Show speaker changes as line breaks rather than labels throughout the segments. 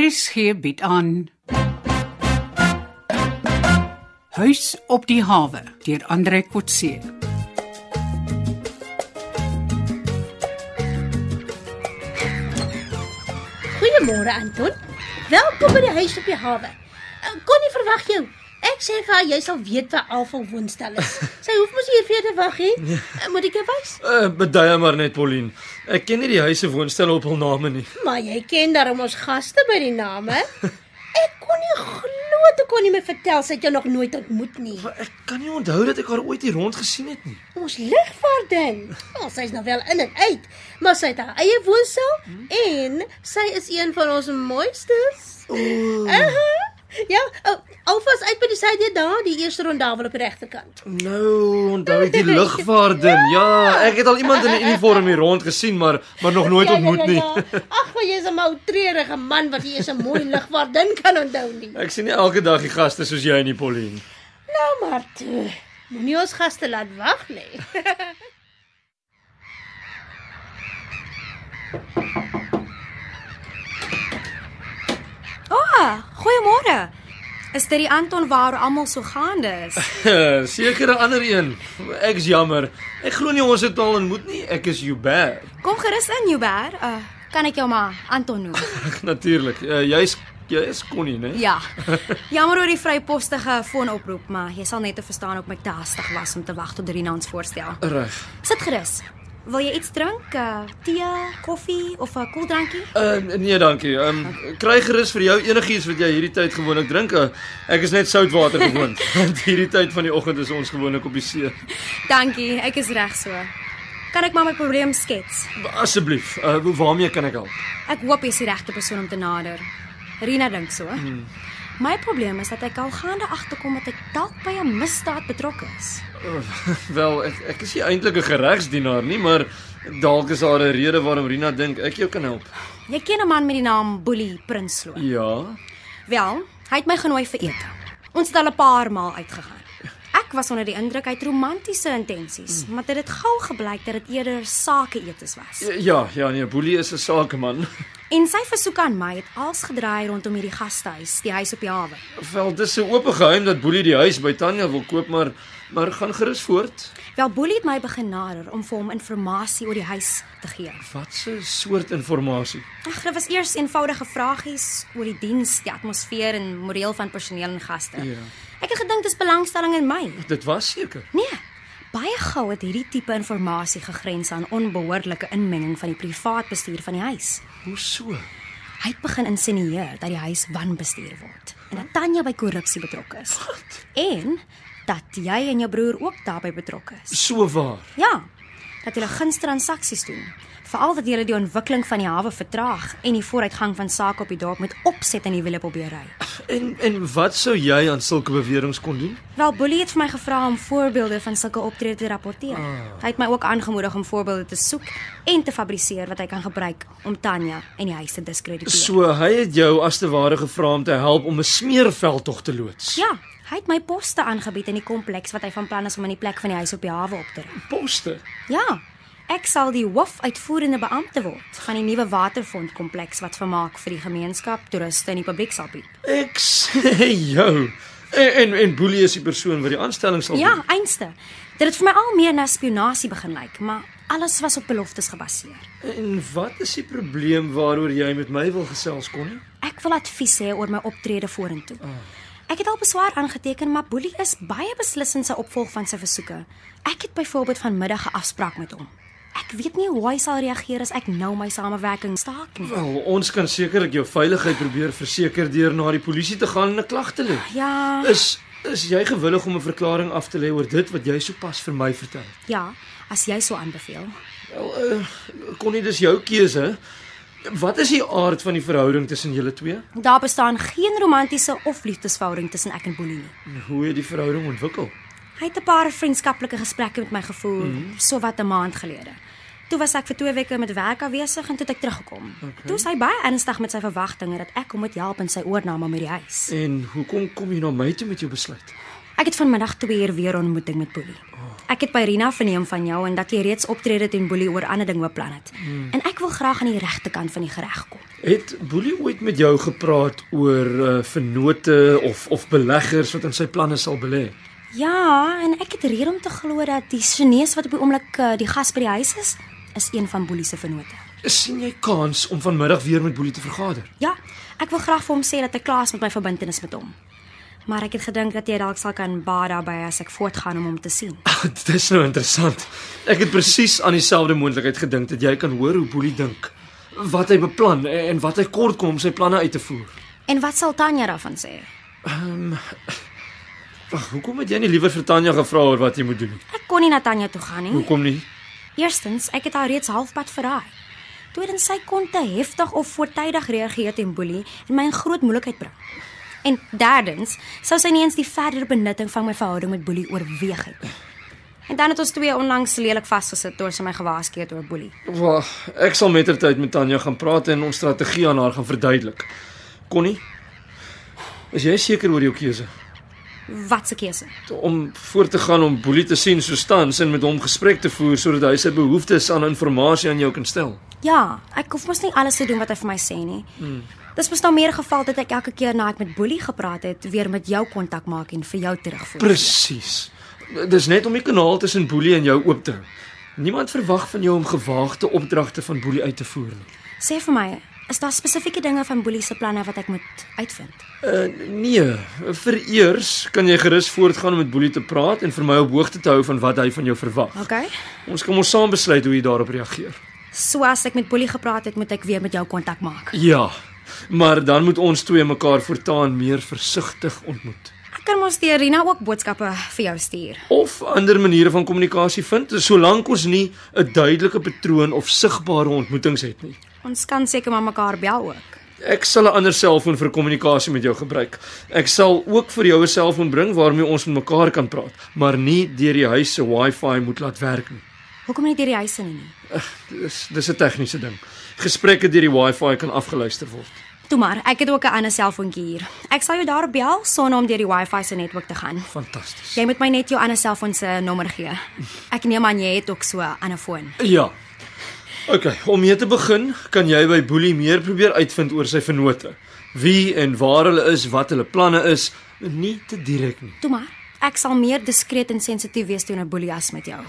RSG bied aan Huis op die hawe deur Andre Kotse.
Goeiemôre Anton. Welkom by die huis op die hawe. Ek kon nie verwag jou. Ek sê vir haar jy sal weet waar Alfel woonstel is. Sy hoef mos hier vir jou te wag hè. Eh, Moet ek jou wys?
Uh, Beduie maar net Pauline. Ek ken nie die huise woonstelle op hul name nie.
Maar jy ken daarom ons gaste by die name. Ek kon nie glo te kon nie my vertel sy het jou nog nooit ontmoet nie.
Maar ek kan nie onthou dat ek haar ooit hier rond gesien het nie.
Ons ligvaardin. Ons sy's nou wel in en uit, maar sy het haar eie woonstel en sy is een van ons mooistes.
Ooh.
Uh-huh. Ja, oh, Alfas uit by die syde daar, die eerste rond daar wel op die regterkant.
Nou onthou ek die lugwaardin. Ja, ek het al iemand in 'n uniform hier rond gesien, maar maar nog
Ja,
nooit ontmoet nie.
Ag, maar jy's 'n ou treurige man wat jy eers 'n mooi ligwaardin kan onthou nie.
Ek sien nie elke dag die gaste soos jy nie, Pauline.
Nou maar toe. Moenie ons gaste laat wag nie.
Ah, goeiemôre. Is dit die Anton waar almal so gaande is?
Sekere ander een. Ek is jammer. Ek glo nie ons het al ontmoet nie. Ek is Hubert.
Kom gerus in, Jubber. Uh, kan ek jou maar Anton noem?
Natuurlik. Uh, jy's jy is Connie, né?
Ja. Jammer oor die vrypostige foonoproep, maar jy sal net te verstaan op my te hastig was om te wag tot Rina ons voorstel.
Reg.
Sit gerus. Wil jy iets drink? Uh, tee, koffie of 'n koeldrankie?
Uh, nee, dankie. Ehm um, kry gerus vir jou enigiets wat jy hierdie tyd gewoonlik drink. Uh, ek is net soutwater gewoond. Want hierdie tyd van die oggend is ons gewoonlik op die see.
Dankie, ek is reg so. Kan ek maar my probleem skets?
Asseblief, uh, waarmee kan ek help?
Ek hoop jy's die regte persoon om te nader. Rina dink so. My probleem is dat ek al gaande agterkom dat ek dalk by 'n misdaad betrokke is.
Uh, wel, ek, ek is nie eintlik 'n geregsdienaar nie, maar dalk is daar 'n rede waarom Rina dink ek jou kan help.
Jy ken 'n man met die naam Boelie Prinsloo.
Ja.
Wel, hy het my genooi vir ete. Ons het al 'n paar maal uitgegaan. Ek was onder die indruk hy het romantiese intensies, maar dit het gou gebleik dat dit eerder sake-etes was.
Ja, ja, nee, Boelie is 'n sakeman.
En sy versoek aan my het als gedraai rondom hierdie gastehuis, die huis op die hawe.
Wel, dis 'n oop geheim dat Boelie die huis by Tanya wil koop, maar maar gaan gerus voort.
Wel, Boelie het my begin nader om vir hom inligting oor die huis te gee.
Wat 'n soort inligting.
Ag, dit was eers eenvoudige vragies oor die diens, die atmosfeer en moreel van personeel en gaste.
Ja.
Ek het gedink dis belangstelling in my.
Dit was seker.
Nee. Baie gou het hierdie tipe inligting gegrens aan onbehoorlike inmenging van die privaat bestuur van die huis.
Hoe so?
Hy het begin insinueer dat die huis wanbestuur word en dat Tanya by korrupsie betrokke is. Wat? En dat jy en jou broer ook daarbey betrokke is.
So waar.
Ja, dat hulle gunstransaksies doen. Veral dat hulle die ontwikkeling van die hawe vertraag en die vooruitgang van sake op die dorp met opset in die wiele probeer ry.
En en wat sou jy aan sulke beweringe kon doen?
Wel, Boelie het vir my gevra om voorbeelde van sulke optredes te rapporteer. Hy het my ook aangemoedig om voorbeelde te soek en te fabriseer wat hy kan gebruik om Tanya en die huis te diskrediteer.
So hy het jou as te ware gevra om te help om 'n smeerveldtog te loods.
Ja, hy het my poste aangebied in die kompleks wat hy van plan is om in die plek van die huis op die hawe op te rig.
Poste.
Ja. Ek sal die hoofuitvoerende beampte word van die nuwe waterfront kompleks wat vermaak vir die gemeenskap, toeriste en die publiek sal bied.
Ek sê jou. En en, en Boelie is die persoon wat die aanstelling sal
Ja,
doen.
einste. Dit het vir my al meer na spionasie begin lyk, maar alles was op beloftes gebaseer.
En wat is die probleem waaroor jy met my wil gesels kon?
Ek wil advies hê oor my optrede vorentoe. Ek het al beswaar aangeteken, maar Boelie is baie beslissend sy opvolg van sy versoeke. Ek het byvoorbeeld vanmiddag 'n afspraak met hom. Ek weet nie hoe hy sal reageer as ek nou my samewerking staak nie.
Wel, ons kan sekerlik jou veiligheid probeer verseker deur na die polisie te gaan en 'n klag te lê.
Ja.
Is is jy gewillig om 'n verklaring af te lê oor dit wat jy sopas vir my vertel het?
Ja, as jy so aanbeveel.
Wel, uh, kon nie dis jou keuse. Wat is die aard van die verhouding tussen julle twee?
Daar bestaan geen romantiese of liefdesverhouding tussen ek en Boelie nie.
En Hoe het die verhouding ontwikkel?
Hy het 'n paar vriendskaplike gesprekke met my gevoer mm. sowat 'n maand gelede. Toe was ek vir 2 weke met werk afwesig en toe het ek teruggekom. Okay. Toe is hy baie ernstig met sy verwagtinge dat ek hom moet help in sy oorname met die huis.
En hoekom kom jy na my toe met jou besluit?
Ek het vanmiddag 2 uur weer ontmoeting met Boelie. Ek het by Rina verneem van jou en dat jy reeds optrede teen Boelie oor ander ding beplan het. Mm. En ek wil graag aan die regte kant van die gereg kom.
Het Boelie ooit met jou gepraat oor uh, vennote of of beleggers wat in sy planne sal belê?
Ja, en ek het rede om te glo dat die Chinese wat op die oomblik eh, die gas by die huis is, is een van Boelie se vennote.
sien jy kans om vanmiddag weer met Boelie te vergader?
Ja, ek wil graag vir hom sê dat ek klaar is met my verbintenis met hom. Maar ek het gedink dat jy dalk sal kan baat daarby as ek voortgaan om hom te sien.
Dit is nou interessant. Ek het presies aan dieselfde moontlikheid gedink dat jy kan hoor hoe Boelie dink, wat hy beplan en en wat hy kortkom om sy planne uit te voer.
En wat sal Tanya daarvan sê?
Wag, hoekom het jy nie liewer vir Tanya gevra oor wat jy moet doen nie?
Ek kon nie na Tanya toe gaan nie.
Hoekom nie?
Eerstens, ek het haar reeds halfpad verraai. Tweedens, sy kon te heftig of voortydig reageer teen Boelie en my in groot moeilikheid bring. En derdens, sou sy nie eens die verdere benutting van my verhouding met Boelie oorweeg het nie. En dan het ons twee onlangs lelik vasgesit toe sy my gewaarsku het oor Boelie.
Wag, ek sal mettertyd met Tanya gaan praat en ons strategie aan haar gaan verduidelik. Connie, is jy seker oor jou keuse
Wat se keuse?
om voort te gaan om Boelie te sien soos tans en met hom gesprek te voer sodat hy sy behoeftes aan inligting aan jou kan stel?
Ja, ek hoef mos nie alles te doen wat hy vir my sê nie. Hmm. Dis mos nou meer geval dat ek elke keer na ek met Boelie gepraat het, weer met jou kontak maak en vir jou terugvoer.
Presies. Dis net om die kanaal tussen Boelie en jou oop te hou. Niemand verwag van jou om gewaagde opdragte van Boelie uit te voer nie.
Sê vir my, is daar spesifieke dinge van Boelie se planne wat ek moet uitvind?
Uh nee, vereers kan jy gerus voortgaan om met Boelie te praat en vir my op hoogte te hou van wat hy van jou verwag.
OK.
Ons kan mos saam besluit hoe jy daarop reageer.
So as ek met Boelie gepraat het, moet ek weer met jou kontak maak.
Ja, maar dan moet ons twee mekaar voortaan meer versigtig ontmoet
Ek kan mos deur Rina ook boodskappe vir jou stuur.
of ander maniere van kommunikasie vind, solank ons nie 'n duidelike patroon of sigbare ontmoetings het nie.
Ons kan seker maar mekaar bel ook.
Ek sal 'n ander selfoon vir kommunikasie met jou gebruik. Ek sal ook vir jou 'n selfoon bring waarmee ons met mekaar kan praat, maar nie deur die huis se Wi-Fi moet laat werk nie.
Hoekom nie deur die huis in nie?
Dis dis 'n tegniese ding. Gesprekke deur die Wi-Fi kan afgeluister word.
Toe maar, ek het ook 'n ander selfoontjie hier. Ek sal jou daar bel sonder om deur die Wi-Fi se netwerk te gaan.
Fantasties.
Jy moet my net jou ander selfoon se nommer gee. Ek neem aan jy het ook so 'n ander foon.
Ja. OK, om mee te begin, kan jy by Boelie meer probeer uitvind oor sy vennote. Wie en waar hulle is, wat hulle planne is, nie te direk nie.
Toe maar, ek sal meer diskreet en sensitief wees teenoor Boelie as met jou.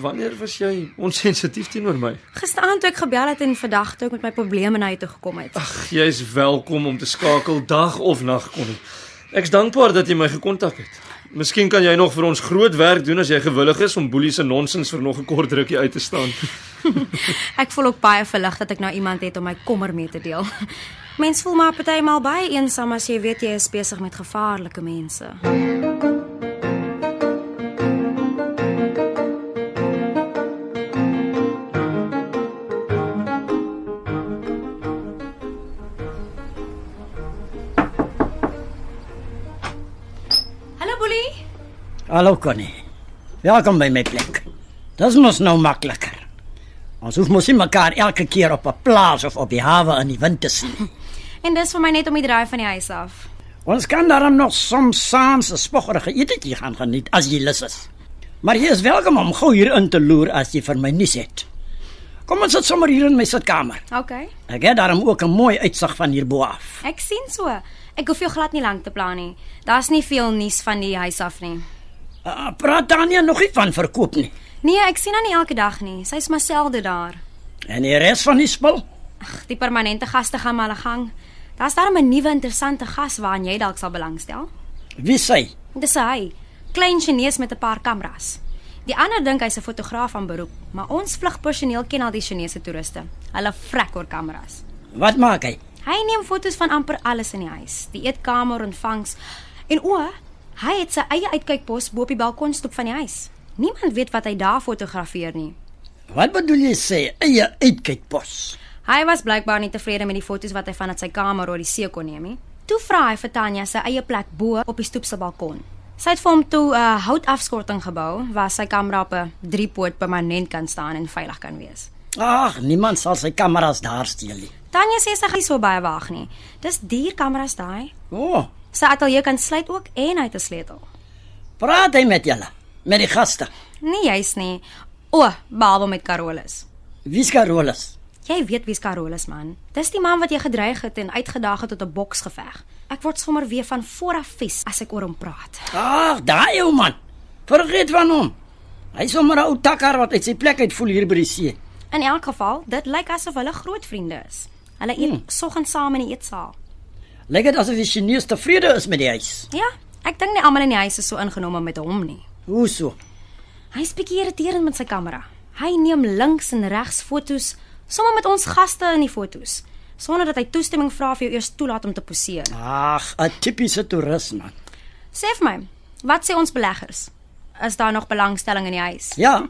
Wanneer was jy onsensitief teenoor my?
Gisteraand toe ek gebel het en vandag toe ek met my probleme na jou toe gekom het.
Ag, jy is welkom om te skakel dag of nag Connie. Ek's dankbaar dat jy my gekontak het. Miskien kan jy nog vir ons groot werk doen as jy gewillig is om boelie se nonsens vir nog 'n kort rukkie uit te staan.
Ek voel ook baie verlig dat ek nou iemand het om my kommer mee te deel. Mens voel maar partymal baie eensaam as jy weet jy is besig met gevaarlike mense. Hallo Boelie.
Hallo Connie. Welkom by my plek. Dis mos nou makliker. Ons hoef mos nie mekaar elke keer op 'n plaas of op die hawe in die wind te sien.
En dis vir my net om die draai van die huis af.
Ons kan daarom nog soms saans 'n spoggerige etetjie gaan geniet as jy lus is. Maar jy is welkom om gou hier in te loer as jy vir my nuus het. Kom ons sit sommer hier in my sitkamer.
OK.
Ek het daarom ook 'n mooi uitsig van hierbo af.
Ek sien so. Ek hoef jou glad nie lank te plan nie. Daar's nie veel nuus van die huis af nie.
Uh, praat Tanya nog nie van verkoop nie.
Nee, ek sien haar nie elke dag nie. Sy's maar selde daar.
En die res van die spul?
Ag, die permanente gaste gaan maar hulle gang. Daar's daar 'n nuwe interessante gas waaraan jy dalk sal belangstel.
Wie sê?
Dis hy, klein Chinees met 'n paar kameras. Die ander dink hy's 'n fotograaf van beroep, maar ons vlugpersoneel ken al die Chinese toeriste. Hulle vrek oor kameras.
Wat maak hy?
Hy neem foto's van amper alles in die huis, die eetkamer, ontvangs en o, hy het sy eie uitkykpos bo op die balkonstoep van die huis. Niemand weet wat hy daar fotografeer nie.
Wat bedoel jy sê eie uitkykpos?
Hy was blykbaar nie tevrede met die foto's wat hy vanuit sy kamer oor die see kon neem nie. Toe vra hy vir Tanya sy eie plek bo op die stoep se balkon. Sy het vir hom toe 'n uh, houtafskorting gebou waar sy kamera op 'n driepoot permanent kan staan en veilig kan wees.
Ag, niemand sal sy kameras daar steel nie.
Tanya sê sy gaan nie so baie waag nie. Dis duur kameras daai.
O, oh,
Sy ateljee kan sluit ook en hy het 'n sleutel.
Praat hy met julle, met die gaste.
Nee, jy's nie. O, behalwe met Carolus.
Wie's Carolus?
Jy weet wie's Carolus man. Dis die man wat jy gedreig het en uitgedaag het tot 'n boksgeveg. Ek word sommer weer van vooraf vies as ek oor hom praat.
Ag, daai ou man. Vergeet van hom. Hy is sommer 'n ou takker wat uit sy plek uitvoel hier by die see.
In elk geval, dit lyk asof hulle groot vriende is. Hulle eet hmm. soggens saam in die eetsaal.
Lyk dit asof die Chinese tevrede is met die huis.
Ja, ek dink nie almal in die huis is so ingenome met hom nie.
Hoe so?
Hy's bietjie irriterend met sy kamera. Hy neem links en regs fotos, sommer met ons gaste in die fotos, sonder dat hy toestemming vra of jy eers toelaat om te poseer.
Ag, 'n tipiese toerist man.
Sê vir my, wat sê ons beleggers? Is daar nog belangstelling in die huis?
Ja.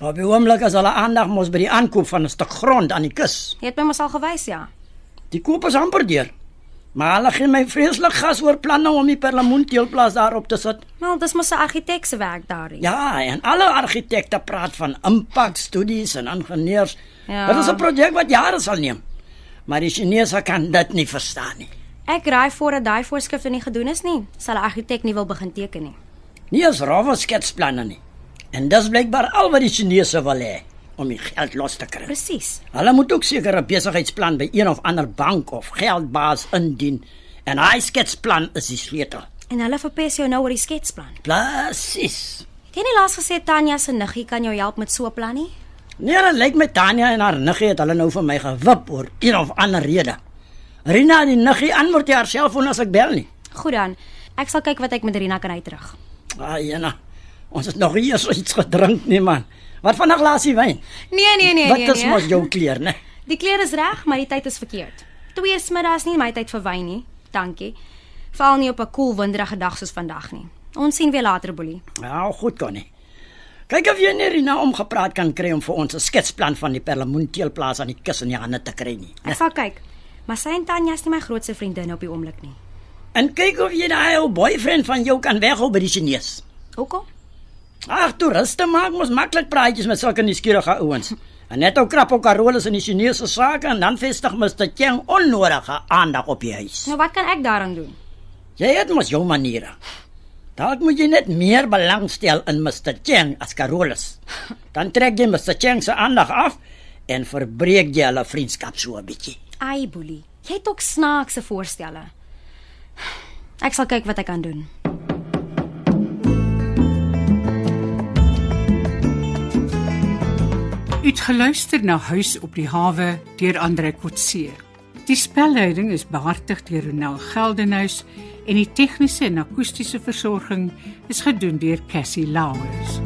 Op die oomblik is hulle aandag mos by die aankoop van 'n stuk grond aan die kus.
Jy het my mos al gewys, ja.
Die koop is amper deur. Maar hulle gee my vreeslik gas oor planne om die perlemoenteelplaas daarop te sit.
Wel, dis mos 'n argitek se werk daardie.
Ja, en alle argitekte praat van impakstudies en ingenieurs.
Ja.
Dit is 'n projek wat jare sal neem. Maar die Chinese kan dit nie verstaan nie.
Ek raai voordat daai voorskrifte nie gedoen is nie, sal 'n argitek nie wil begin teken nie.
Nie eens rowwe sketsplanne nie. En dis blykbaar al wat die Chinese wil hê om die geld los te kry.
Presies.
Hulle moet ook seker 'n besigheidsplan by een of ander bank of geldbaas indien. En hy sketsplan is die sleutel.
En hulle verpes jou nou oor die sketsplan.
Presies.
Het Jy het nie laas gesê Tanya se niggie kan jou help met so 'n plan nie?
Nee, dit lyk my Tanya en haar niggie het hulle nou vir my gewip oor een of ander rede. Rina en die niggie antwoord nie haar selfoon as ek bel nie.
Goed dan. Ek sal kyk wat ek met Rina kan uitrig.
Ai, Jana. Ah, Ons het nog nie eens iets gedrink nie, man. Wat van 'n glasie wyn?
Nee, nee, nee,
Wat
nee.
is
nee.
mos jou kleur, né?
Die kleur is reg, maar die tyd is verkeerd. 2 smiddags nie my tyd vir wyn nie. Dankie. Val nie op 'n koel winderige dag soos vandag nie. Ons sien weer later, Boelie.
Ja, goed kon nie. Kyk of jy nie Rina omgepraat kan kry om vir ons 'n sketsplan van die perlemoenteelplaas aan die kus in die hande te kry nie.
Ek sal kyk. Maar sy en Tanya is nie my grootste vriendinne op die oomblik nie.
En kyk of jy daai ou boyfriend van jou kan weghou by die Chinese.
Hoekom?
Ag, toeriste maak mos maklik praatjies met sulke nuuskierige ouens. En net ou krap op Carolus in die Chinese sake en dan vestig Mr. Cheng onnodige aandag op die huis.
Nou wat kan ek daaraan doen?
Jy het mos jou maniere. Dalk moet jy net meer belangstel in Mr. Cheng as Carolus. Dan trek jy Mr. Cheng se aandag af en verbreek jy hulle vriendskap so 'n bietjie.
Ai, Boelie. Jy het ook snaakse voorstelle. Ek sal kyk wat ek kan doen.
Uitgeluister na Huis op die hawe deur Andre Kotse. Die spelleiding is behartig deur Ronel Geldenhuys en die tegniese en akoestiese versorging is gedoen deur Cassie Lauers.